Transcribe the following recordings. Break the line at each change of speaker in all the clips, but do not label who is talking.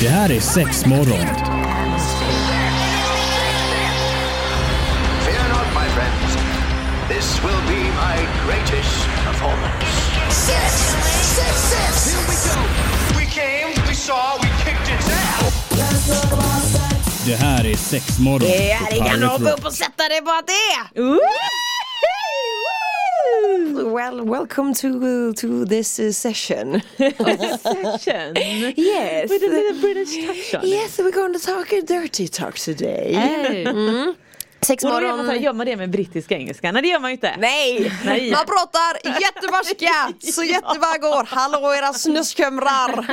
Det här är sex morgon.
Fear not, my friends. This will be my greatest performance.
Six, six, six. Here we go.
We came, we saw, we kicked its ass.
Det här är sex morgon.
Det här är
Pirate
kanon,
Rock.
upp och sätta dig på det! Well, welcome to, to this uh, session.
Kitchen
Yes.
with a little British touch on it. Mm.
Yes, we're going to talk a dirty talk today.
Hey.
Eh, Mm. Sex
Och då gör man, så här, gör man det med brittiska engelska? Nej det gör man ju inte.
Nej,
Nej.
man pratar jättebarska så jättebra går. Hallå era snuskhumrar!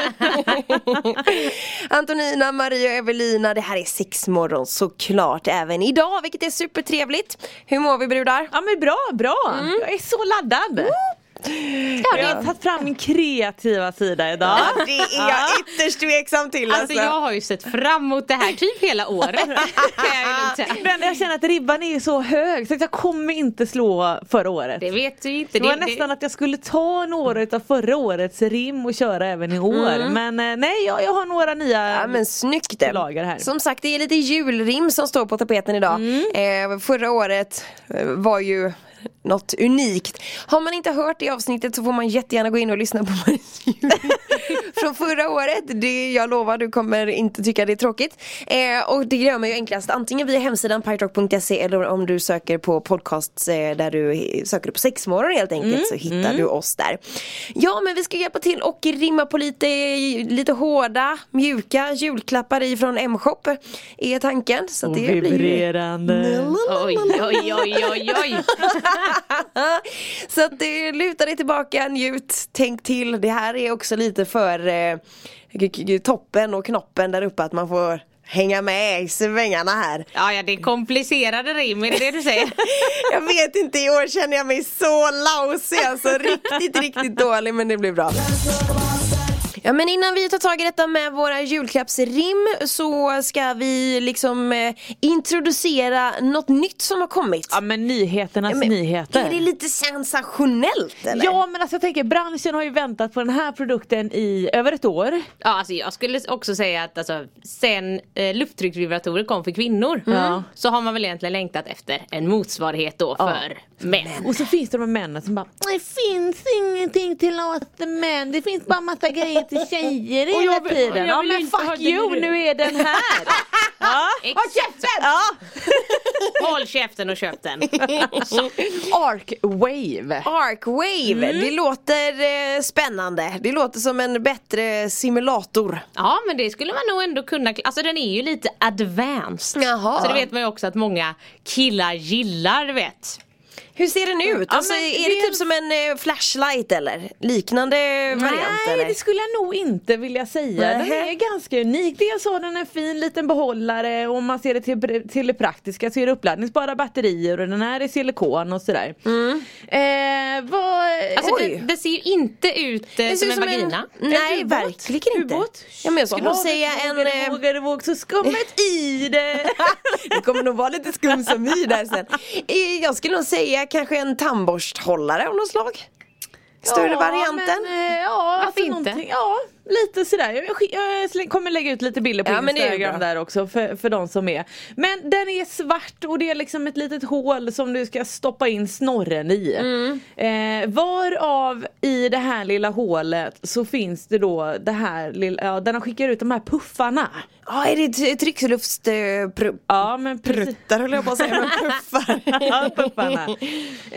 Antonina, Maria och Evelina, det här är sexmorgon såklart även idag vilket är supertrevligt. Hur mår vi brudar?
Ja men bra, bra.
Mm.
Jag är så laddad. Jag har tagit fram min kreativa sida idag.
Det är jag ytterst tveksam till
Alltså jag har ju sett fram emot det här typ hela året. Kan jag ju lugnt säga.
Men jag känner att ribban är så hög så att jag kommer inte slå förra året.
Det
Det,
vet du ju inte.
var nästan att jag skulle ta några av förra årets rim och köra även i år. Men eh, nej, jag, jag har några nya.
Mm. Ja men snyggt!
Ehm, Lager här. Mm.
Som sagt det är lite julrim som står på tapeten idag. Eh, förra året eh, var ju något unikt. Har man inte hört det avsnittet så får man jättegärna gå in och lyssna på Maries jul. Från förra året, det, jag lovar du kommer inte tycka det är tråkigt. Eh, och det gör man ju enklast antingen via hemsidan piratrock.se eller om du söker på podcasts eh, där du eh, söker på sexmorgon helt enkelt
Mm,
så hittar du oss där. Ja men vi ska hjälpa till och rimma på lite, lite hårda, mjuka julklappar ifrån M-shop är tanken. Så att
Och
det blir ju...
vibrerande.
Oj, oj, oj, oj, oj.
Så att eh, luta dig tillbaka, njut, tänk till. Det här är också lite för eh, g- g- toppen och knoppen där uppe att man får hänga med i svängarna här.
Ja, ja, det är komplicerade rim, är det det du säger?
Jag vet inte, i år känner jag mig så lausig alltså. Riktigt, riktigt dålig men det blir bra. Ja men innan vi tar tag i detta med våra julklappsrim så ska vi liksom eh, introducera något nytt som har kommit.
Ja men nyheternas
Ja, men
nyheter.
Är det lite sensationellt eller?
Ja men alltså jag tänker branschen har ju väntat på den här produkten i över ett år.
Ja, alltså jag skulle också säga att alltså, sen eh, lufttrycksvibratorer kom för kvinnor
Ja.
så har man väl egentligen längtat efter en motsvarighet då
Ja.
för män.
Och så finns det de här männen som bara Det finns ingenting till oss män, det finns bara massa grejer till tjejer hela
jag vill- och jag
tiden. Ja
vill
men
inte ha
fuck
den
you,
nu.
nu är den här! ja.
Exakt. Håll käften och köp den.
Arc Wave.
Arcwave,
Mm.
det låter eh, spännande. Det låter som en bättre simulator.
Ja men det skulle man nog ändå kunna, alltså den är ju lite advanced.
Jaha.
Så det vet man ju också att många killar gillar du vet.
Hur ser den ut?
Ja,
alltså,
men
är
det
det
är-
typ som en eh, flashlight eller liknande variant?
Nej
eller?
det skulle jag nog inte vilja säga. Den
Nähä.
är ganska unik. Dels har den en fin liten behållare och om man ser det till, till det praktiska så är det uppladdningsbara batterier och den här är silikon och sådär. Eh, vad,
Mm. Alltså
Oj.
det, det ser ju inte ut eh,
Det ser
som
ut
en vagina.
Nej,
ubåt.
verkligen inte.
Ubåt.
Ja, men jag skulle nog
Havet
säga en...
vågade,
eh,
Vågade våg så skummet i det.
det kommer nog vara lite skum som hy där sen. Eh, Jag skulle nog säga kanske en tandborsthållare av något slag. Större
Ja,
varianten.
Men, eh, ja, alltså
inte?
någonting- ja, lite sådär. Jag, sk- jag släng- kommer lägga ut lite bilder på
Ja, men det är ju
Instagram
bra.
där också för, för de som är. Men den är svart och det är liksom ett litet hål som du ska stoppa in snorren i.
Mm.
Eh, varav i det här lilla hålet så finns det då det här lilla, ja den skickar ut de här puffarna.
Ja, är det t- tryckluft... eh, pr-
Ja men precis.
Pruttar höll jag på att säga, men puffar.
Ja, pupparna.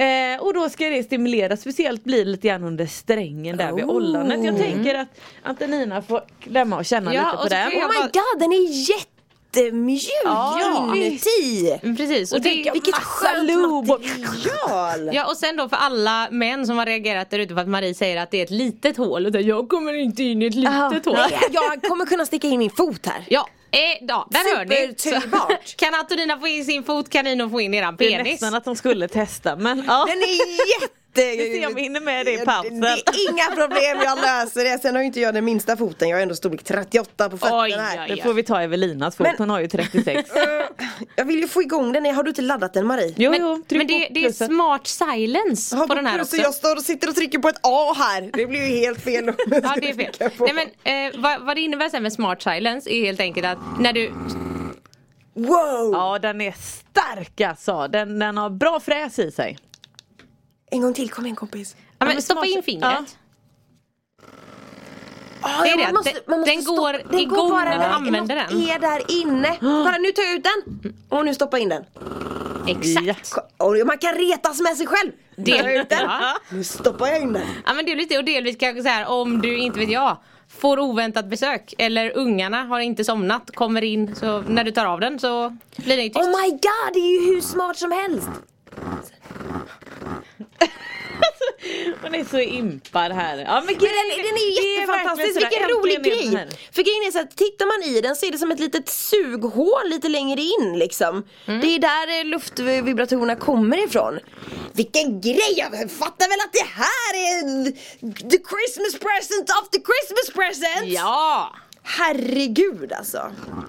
Eh, och då ska det stimuleras, speciellt blir det lite grann under strängen där vid
Oh.
ollonet. Jag tänker att Antonina får klämma och känna
Ja,
lite på
och så
den.
kan jag-
Oh my god, den är jättemjuk
Ja,
inuti!
Mm, Precis. Och det,
Vilket skönt
lube.
material!
Ja och sen då för alla män som har reagerat där ute på att Marie säger att det är ett litet hål och där, jag kommer inte in i ett litet hål.
Jag kommer kunna sticka in min fot här.
Ja Eh, ja, där hör ni.
Superturbart.
Så- Kan Antonina få in sin fot kan Ino få in eran
Det är
penis.
nästan att de skulle testa men ja.
Den är jätte... Vi
ser om vi hinner med det i pausen.
Det är inga problem, jag löser det. Sen har ju inte jag den minsta foten, jag har ändå storlek 38 på fötterna
Oj,
här.
oj,
Det får vi ta Evelinas fot,
Men-
hon har ju 36.
Eh, Jag vill ju få igång den, har du inte laddat den Marie?
Jo, jo,
men
tryck
men det,
på
det är
plussen.
smart silence
Ja,
på den här
plus
också.
att Jag står och sitter och trycker på ett A här, det blir ju helt fel.
Ja det är fel. Nej, men, eh, vad, vad det innebär sen med smart silence är helt enkelt att när du
Wow!
Ja den är stark alltså, den, den har bra fräs i sig.
En gång till, kom igen kompis.
ja, men, stoppa
smart-
in fingret.
Ah,
Det
ja,
är det,
man Ah, måste-
den-
man måste
den
stoppa-
går igång
bara
när man använder
något
den.
är där inne. Kolla nu tar jag ut den. Och nu stoppa in den.
Exakt.
Ko- Och man kan retas med sig själv. Nu
Det-
tar jag ut den.
Ja.
Nu stoppar jag in den.
Ja men det är lite och delvis kanske så här om du inte vet jag får oväntat besök eller ungarna har inte somnat kommer in så när du tar av den så blir det ju tyst.
Oh my god, det är ju hur smart som helst.
Hon är så impad här. Ja, men
Men den, den är ju jättefantastisk, vilken rolig grej! För grejen är så att tittar man i den så är det som ett litet sughål lite längre in liksom. Det är där eh, luftvibratorerna kommer ifrån. Vilken grej! Jag fattar väl att det här är the Christmas present of the Christmas present!
Ja!
Herregud alltså! Ja,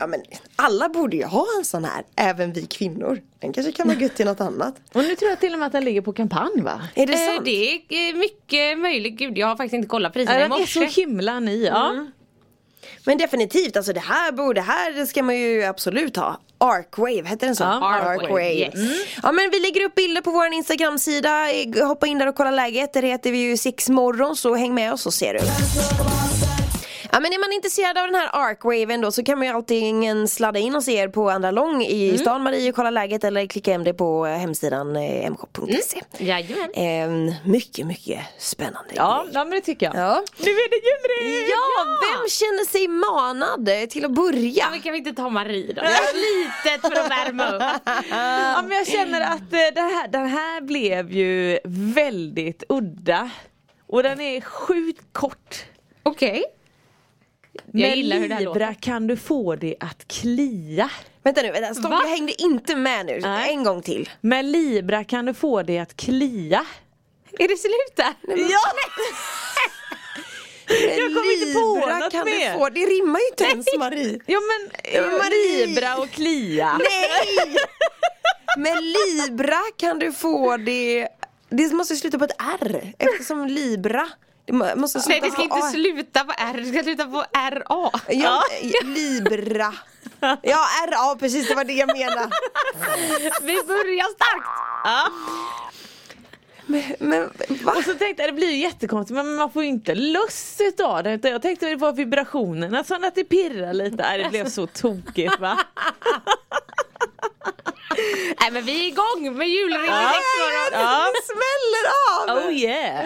Ja, men alla borde ju ha en sån här, även vi kvinnor. Den kanske kan vara gött till något annat.
Och nu tror jag till och med att den ligger på kampanj va?
Är det
Eh,
sant?
Det är eh, mycket möjligt, gud jag har faktiskt inte kollat priserna i
den Mm. är så
morse.
himla ny. Ja.
Men definitivt, alltså det här borde, det här ska man ju absolut ha. Arcwave, hette den så?
Ja,
Arcwave, yes.
Ja men vi lägger upp bilder på vår Instagram-sida, Eh, hoppa in där och kolla läget. Där heter vi ju sexmorgon så häng med oss så ser du. Ja men är man intresserad av den här Arcwaven då så kan man ju antingen sladda in hos er på Andra Lång i stan Marie och kolla läget eller klicka hem det på hemsidan eh, mk.se.
Mm. Jajamän.
Ehm, mycket, mycket spännande
Ja,
grej.
ja men det tycker jag.
Ja.
Nu är det julrim!
Ja, vem känner sig manad eh, till att
Ja,
börja?
men kan vi inte ta Marie då? Det är litet för att värma upp.
Ja, men jag känner att eh, det här, den här blev ju väldigt udda. Och den är sjukt kort.
Okej. Jag
Med
gillar hur det här
Libra
låter.
kan du få det att klia.
Vänta nu, vänta, stopp,
Va?
jag hängde inte med nu.
Nej.
En gång till.
Med Libra kan du få det att klia.
Är det slut där?
Ja! Jag kom inte på
Libra
något
kan
mer.
Du få, det rimmar ju inte ens Marie.
Ja men eh,
Marie.
Libra och klia.
Nej! Med Libra kan du få det... Det måste ju sluta på ett R eftersom Libra. Det må- måste sluta
Nej det ska
på
inte
A.
sluta på R, det ska sluta på RA.
Ja, eh, Libra. Ja, RA precis det var det jag menade.
Vi börjar starkt!
Men, men va?
Och så tänkte jag det blir ju jättekonstigt men man får ju inte lust utav det. Utan jag tänkte det var vibrationerna som att det pirrar lite. Nej, det blev så tokigt va.
Nej men vi är igång med julringen
Ja. Ja.
Det smäller av!
Oh yeah.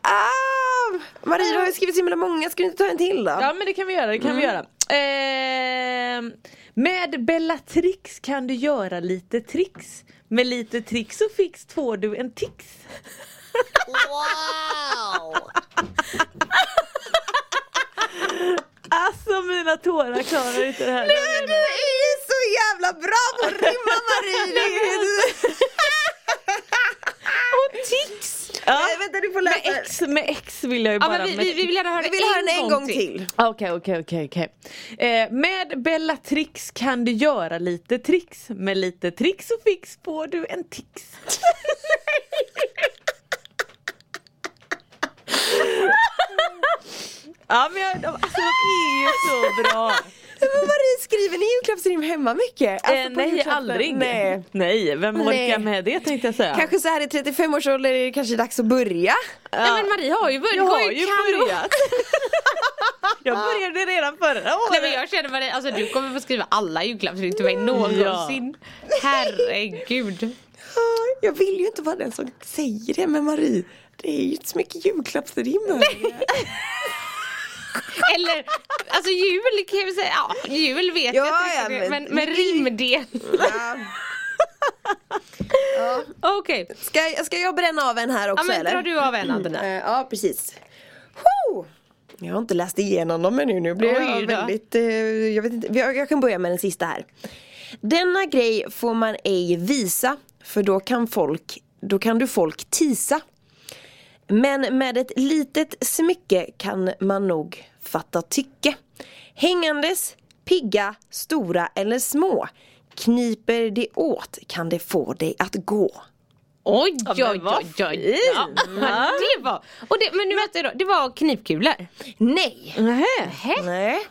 Ah, Marie, du har ju skrivit så himla många, ska du inte ta en till då?
Ja men det kan vi göra, det kan vi göra. Ehm, med Bellatrix kan du göra lite tricks. Med lite tricks och fix får du en tix. Wow! alltså mina tårar klarar inte det här.
Men Du är ju så jävla bra på att rimma Marie! Det är-
Och tix! Eh, Ja.
Nej, vänta, du får
Med
läsa.
X, med X vill jag ju
Ja
bara...
men vi,
med-
vi, vi vill gärna höra
Vi
det
vill höra den en gång till.
Ah, Okej, okej, okej. okej. Eh, Med Bellatrix kan du göra lite tricks. Med lite tricks och fix får du en tix. ja, men jag, de- alltså, de är ju så bra.
Men Marie, skriver ni julklappsrim hemma mycket? Alltså,
Eh,
på
nej,
julklappen?
aldrig.
Nej.
nej, vem
Nej.
orkar med det tänkte jag säga.
Kanske så här i 35 års ålder är det kanske dags att börja.
Nej men Marie har ju börjat,
jag
Du
har ju
kanon.
börjat. jag började redan förra året.
Nej men jag känner Marie, alltså du kommer få skriva alla julklappsrim till mig någonsin. Herregud.
Ah, Jag vill ju inte vara den som säger det, men Marie, det är ju inte så mycket julklappsrim.
Eller, alltså jul kan vi säga, ja jul vet
Ja,
jag inte
ja,
riktigt,
men-
men, men rimdel.
Ja.
Okej,
Ska, ska jag bränna av en här
ja
också
men
eller?
drar du av en
Eh,
Antonina.
Ja, precis. Ho! Jag har inte läst igenom dem ännu. Nu blir
Oj
jag
då.
väldigt... eh, jag, vet inte, jag, jag kan börja med den sista här. Denna grej får man ej visa för då kan folk, då kan du folk tisa. Men med ett litet smycke kan man nog fatta tycke. Hängandes, pigga, stora eller små. Kniper det åt kan det få dig att gå.
Oj, oj,
men
oj,
vad
oj. Ja, det var, och det, men nu vänta då, det var knipkulor.
Nej!
Nähä.
Nej.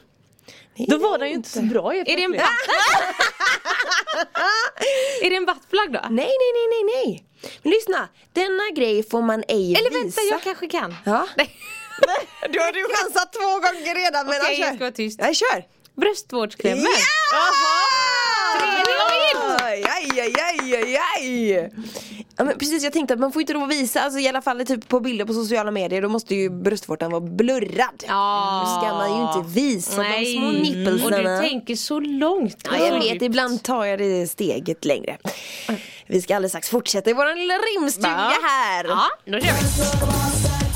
Då var den ju inte så bra helt
Är det en
plötsligt.
Är det en buttplug då?
Nej, nej, nej, nej, nej. Men lyssna, denna grej får man ej
Eller
visa.
vänta, jag kanske kan.
Ja.
Nej.
Du har du chansat två gånger redan men alltså-
Okej,
kör.
jag ska vara tyst.
Nej, kör.
Bröstvårdskrämer.
Jaha! Aj, aj, aj, aj, aj. Ja, men precis, jag tänkte att man får inte lov att visa, alltså, i alla fall typ på bilder på sociala medier, då måste ju bröstvårtan vara blurrad.
Ja.
Då ska man ju inte visa de små nippelsarna.
Och du tänker så långt.
Ja, jag vet, ibland tar jag det steget längre. Vi ska alldeles strax fortsätta i vår lilla rimstuga här.
Ja, då kör vi.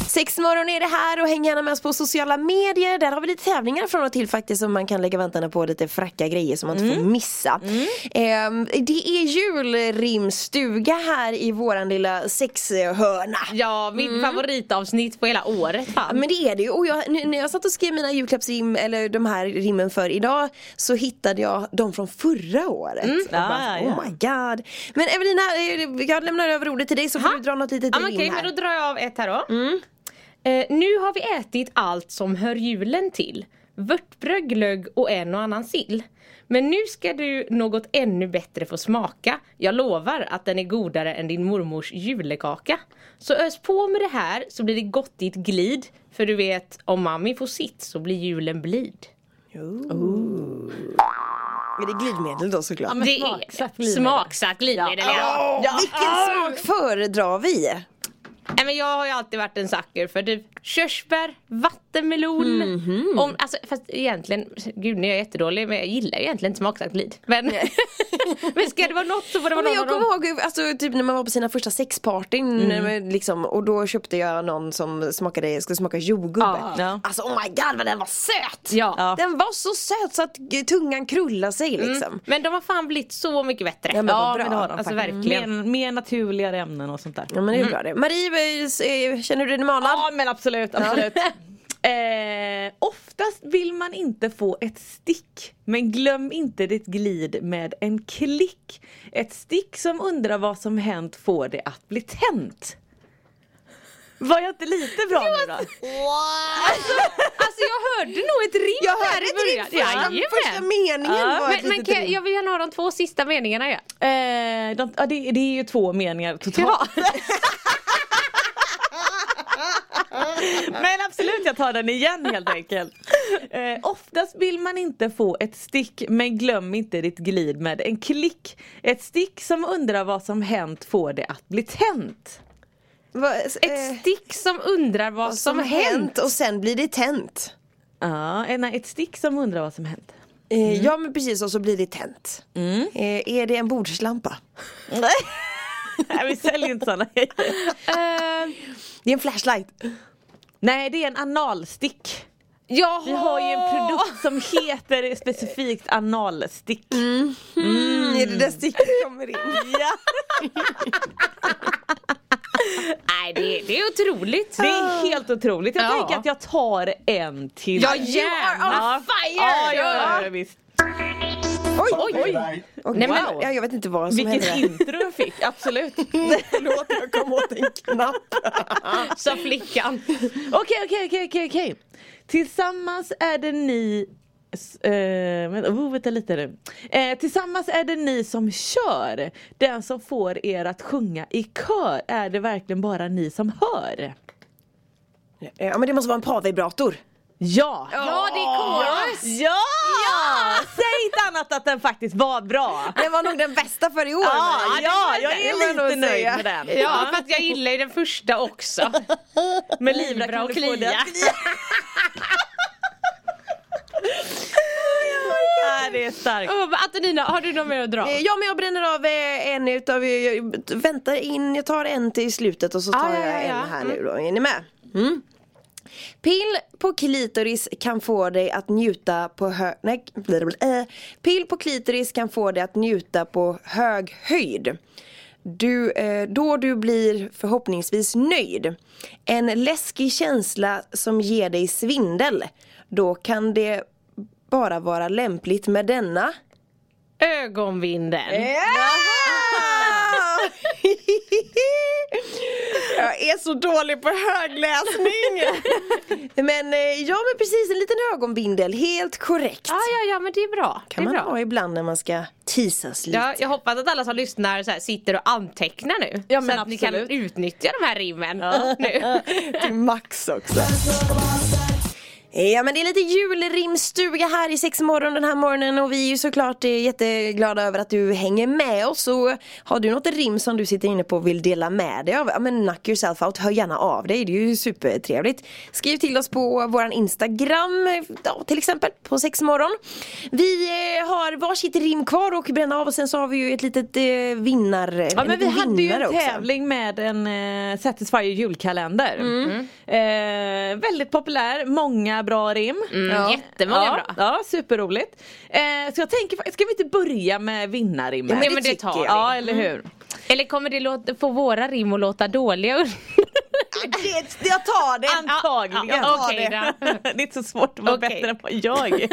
Sexmorgon är det här och häng gärna med oss på sociala medier. Där har vi lite tävlingar från och till faktiskt som man kan lägga vantarna på. Lite fracka grejer som man inte
Mm.
får missa. Ehm, det är julrimstuga här i våran lilla sexhörna.
Ja, mitt
Mm.
favoritavsnitt på hela året.
Ja,
Fan.
men det är det ju. Och jag, nu- när jag satt och skrev mina julklappsrim, eller de här rimmen för idag, så hittade jag de från förra året.
Mm.
Och
Ah,
bara,
ja, ja.
Oh my god. Men Evelina, eh, jag lämnar över ordet till dig så får du dra något litet
Ja, men
rim
okej,
här.
men då drar jag av ett här då. Eh, nu har vi ätit allt som hör julen till. Vörtbröd, glögg och en och annan sill. Men nu ska du något ännu bättre få smaka. Jag lovar att den är godare än din mormors julekaka. Så ös på med det här så blir det gottigt glid. För du vet, om mami får sitt så blir julen blid.
Är det glidmedel då såklart?
men
det
smaksatt
är
glidmedel.
smaksatt glidmedel. Ja.
Ja.
Vilken
Ah!
smak föredrar vi?
Nej, men jag har ju alltid varit en sucker för typ körsbär, vattenmelon.
Mhm.
Om, alltså, fast egentligen, gud nu är jag jättedålig men jag gillar ju egentligen inte smaksatt glid. Men, men ska det vara något så får det
Ja,
vara
men
någon
jag kommer
av dem. Mm.
ihåg alltså, typ när man var på sina första sexpartyn när man liksom, och då köpte jag någon som smakade, skulle smaka jordgubbe.
Ah, Ja.
Ja.
Alltså oh my god vad den var söt!
Ja. Mm.
Ja.
Den var så söt så att eh, tungan krullade sig liksom.
Men de har fan blivit så mycket bättre.
Ja, men vad bra.
men det har de
Alltså,
faktiskt.
verkligen.
Mer, mer naturligare ämnen och sånt där.
Ja men det är bra det. Marie, eh, eh, känner du dig manad?
Ja men absolut, absolut. eh, oftast vill man inte få ett stick. Men glöm inte ditt glid med en klick. Ett stick som undrar vad som hänt får det att bli tänt. Var jag inte lite bra nu då?
Alltså jag hörde nog ett rim
Jag
där
hörde
i
inte din
början.
första,
Jajamän.
första meningen var ett
Men, men
litet
kan,
rim.
jag vill gärna ha de två sista meningarna ja.
Eh, de, ja, det, det är ju två meningar
ja.
totalt. Men absolut, jag tar den igen helt enkelt. Eh, oftast vill man inte få ett stick, men glöm inte ditt glid med en klick. Ett stick som undrar vad som hänt får det att bli tänt.
Va, s- eh,
Ett stick som undrar vad som,
som hänt och sen blir det tänt.
Ja, eh, nej, ett stick som undrar vad som hänt.
Eh, Ja men precis och så blir det tänt. Eh, är det en bordslampa?
nej, vi säljer inte sådana grejer.
Eh,
Det är en flashlight.
Nej, det är en analstick.
jaha.
Vi har ju en produkt som heter specifikt analstick.
Mm. Är det där sticket kommer in?
Ja.
Nej det, det är otroligt.
Det är helt otroligt. Jag
Ja.
tänker att jag tar en till.
Ja, gärna.
You are on Ja, ja, ja, visst.
Oj! Oj. Och-
Nej, men-
wow. ja, jag vet inte vad som
Vilket
hände.
intro jag fick, absolut.
Förlåt, jag kom åt en knapp.
Sa flickan.
Okej, okej, okej, okej, okej. Tillsammans är det ni... s- Eh, vänta, oh, vänta lite nu. Eh, tillsammans är det ni som kör. Den som får er att sjunga i kör är det verkligen bara ni som hör.
Eh, Ja, men det måste vara en pavibrator.
Ja!
Ja det är chorus!
Ja! Säg inte annat att den faktiskt var bra.
Den var nog den bästa för i år.
Ja,
Maria.
ja,
det
jag
får
är
nog
lite nöjd
säga.
med den.
Ja fast jag gillar ju den första också.
Med
Livra
livra
kan du
och
få det
klia.
att
Ja, det är starkt.
Oh, men Antonina har du något mer att dra?
Eh, Ja men jag bränner av eh, en utav, jag- jag väntar in, jag tar en till slutet och så tar
Ah, ja,
jag
ja, ja.
en här nu då. Är ni med? Mm. Pill på klitoris kan få dig att njuta på hög... Nej, blablabla. eh. Pill på klitoris kan få dig att njuta på hög höjd. Du, eh, då du blir förhoppningsvis nöjd. En läskig känsla som ger dig svindel. Då kan det bara vara lämpligt med denna. Eh.
Ögonvinden.
Ja! Jag är så dålig på högläsning! Men eh, ja men precis, en liten ögonbindel, helt korrekt.
Ja, ja, ja, men det är bra.
kan
det är
man
bra.
ha ibland när man ska teasas lite.
Ja, jag hoppas att alla som lyssnar så här sitter och antecknar nu.
Ja,
så
men
att ni kan
absolut.
utnyttja de här rimmen nu.
Till max också. Ja men det är lite julrimstuga här i sexmorgon den här morgonen och vi är ju såklart eh, jätteglada över att du hänger med oss och har du något rim som du sitter inne på och vill dela med dig av, ja men knock yourself out, hör gärna av dig, det är ju supertrevligt. Skriv till oss på våran Instagram, eh, ja, till exempel på sexmorgon. Vi eh, har varsitt rim kvar och bränna av och sen så har vi ju ett litet eh, vinnar...
Ja
en
men vi
liten
hade ju
vinnare
en
också.
tävling med en eh, Satisfyer julkalender.
Mm.
Eh, väldigt populär, många bra rim.
Ja. Mm, jättemånga
ja,
bra.
Ja, superroligt. Eh, så jag tänker, fa- ska vi inte börja med vinnarrimmet?
Jo, men det tar vi. Mm.
Ja eller hur.
Eller kommer det låta, få våra rim att låta dåliga?
Det, jag tar det!
Antagligen.
Ja, ja, okej då.
det är inte så svårt att vara
Okej.
bättre än vad jag är.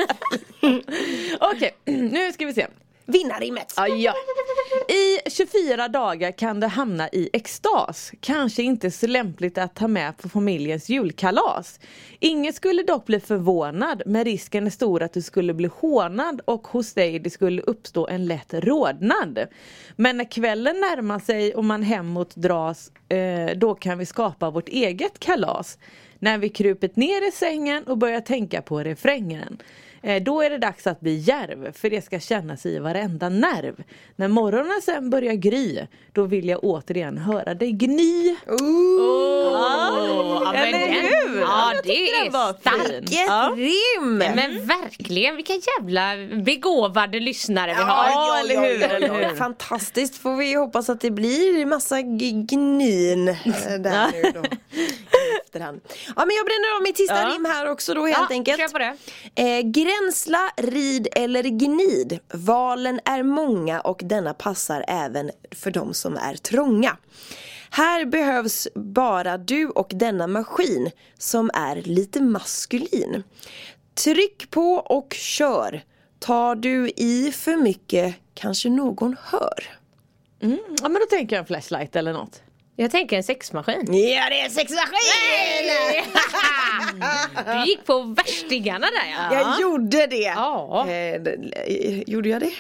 Okej, nu ska vi se.
Vinnarrimmet!
Ja, ja. I 24 dagar kan du hamna i extas. Kanske inte så lämpligt att ta med på familjens julkalas. Ingen skulle dock bli förvånad men risken är stor att du skulle bli hånad och hos dig det skulle uppstå en lätt rodnad. Men när kvällen närmar sig och man hemåt dras eh, då kan vi skapa vårt eget kalas. När vi krupit ner i sängen och börjar tänka på refrängen. Eh, Då är det dags att bli djärv, för det ska kännas i varenda nerv. När morgonen sen börjar gry, då vill jag återigen höra dig gny.
Ja, men
Eller
den-
hur?
Ja,
Jag
det
tyckte den
är
var
starkt.
fin.
Vilket
Ja.
rim!
Men verkligen, vilka jävla begåvade lyssnare vi har.
Ja, eller hur, eller hur?
Fantastiskt, får vi hoppas att det blir massa g- gnyn eh, där nu då. i efterhand. Ja men jag bränner av mitt sista
Ja.
rim här också då helt
Ja,
enkelt.
kör på det.
Eh, gränsla, rid eller gnid. Valen är många och denna passar även för de som är trånga. Här behövs bara du och denna maskin som är lite maskulin. Tryck på och kör. Tar du i för mycket kanske någon hör.
Ja men då tänker jag en flashlight eller något.
Jag tänker en sexmaskin.
Ja det är sexmaskin!
Du gick på värstingarna där ja.
Jag gjorde det!
Ja.
Eh, d- eh, gjorde jag det?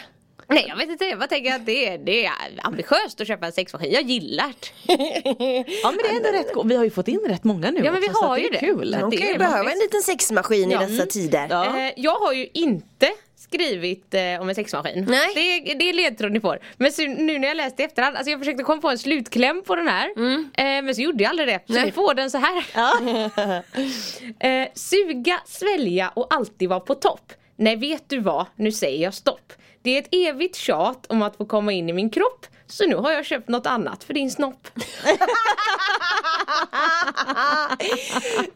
Nej jag vet inte, jag bara tänker att det är, det är ambitiöst att köpa en sexmaskin. Jag gillar det.
Ja men det är ändå rätt go- Vi har ju fått in rätt många nu
Ja, men vi
också, så
har
att
ju
det.
det.
Är kul.
Ja.
De kan
är
ju
det
behöva
faktiskt.
en liten sexmaskin
Ja.
i dessa tider.
Ja.
Eh, Jag har ju inte skrivit eh, om en sexmaskin.
Nej.
Det, är- det är ledtråd ni får. Men så, nu när jag läste i efterhand, alltså jag försökte komma på en slutkläm på den här. Eh, men så gjorde jag aldrig det. Så ni får den så här. eh, suga, svälja och alltid vara på topp. Nej vet du vad, nu säger jag stopp. Det är ett evigt tjat om att få komma in i min kropp. Så nu har jag köpt något annat för din snopp.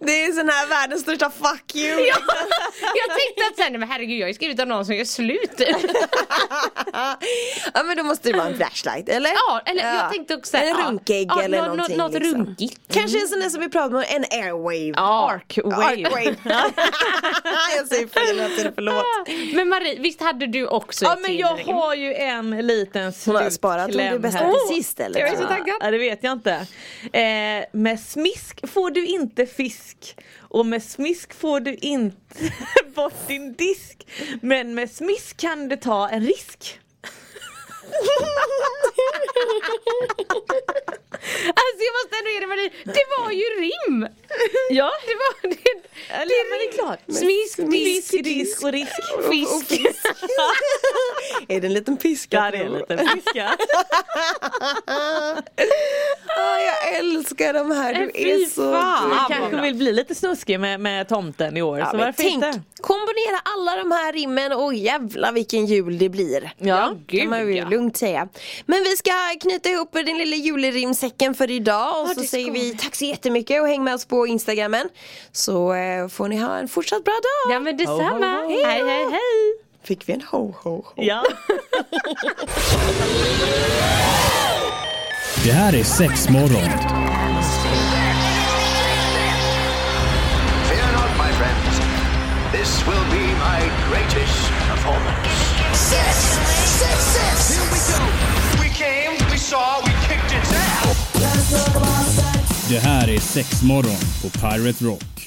Det är sån här världens största fuck you!
Ja, jag tänkte att sen, men herregud jag har ju skrivit om någon som gör slut.
ja men då måste det vara en flashlight eller?
Ja, eller jag tänkte också
En runkägg
ja,
eller
nå-
någonting.
nå- Något Mm.
liksom.
runkigt.
Kanske en sån där som vi pratade om, en airwave.
Arcwave.
Arcwave. jag säger fel hela tiden, förlåt.
Men Marie, visst hade du också
Ja
ett
men
till
jag
rim?
har ju en liten
Hon
slutkläm
har sparat hon det bästa
här.
till sist eller?
jag är så taggad.
Ja, det vet jag inte. Eh, med smisk får du inte fisk och med smisk får du inte bort din disk. Men med smisk kan du ta en risk.
Alltså jag måste ändå ge dig Marie, det var ju rim!
Ja,
Det var det.
eller, men det är klart.
Smisk, disk,
Smisk, disk och risk.
fisk.
är det en liten piska?
Ja, det är en liten fiska.
Ah, jag älskar de här, du
Nej,
är
fy
så
fan.
gullig.
Ja,
Du kanske
bra.
vill bli lite snuskig med, med tomten i år,
Ja,
så
men
varför
tänk,
inte?
kombinera alla de här rimmen och jävla vilken jul det blir.
Ja.
kan man ju
ja.
lugnt säga. Men vi ska knyta ihop den lilla julrimsäcken för idag och så
det
säger
ska
vi tack så jättemycket och häng med oss på instagrammen. Så eh, får ni ha en fortsatt bra dag.
Ja men detsamma. Hej hej hej.
Fick vi en ho ho ho?
Ja.
Det här är sex morgon.
Fear not, my friends. This will be my greatest performance.
Six, six, six. Here we go.
We came, we saw, we kicked its ass.
Det här är sex morgon på Pirate Rock.